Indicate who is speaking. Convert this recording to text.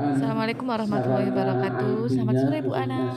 Speaker 1: Assalamualaikum warahmatullahi wabarakatuh. Selamat sore Bu Ana.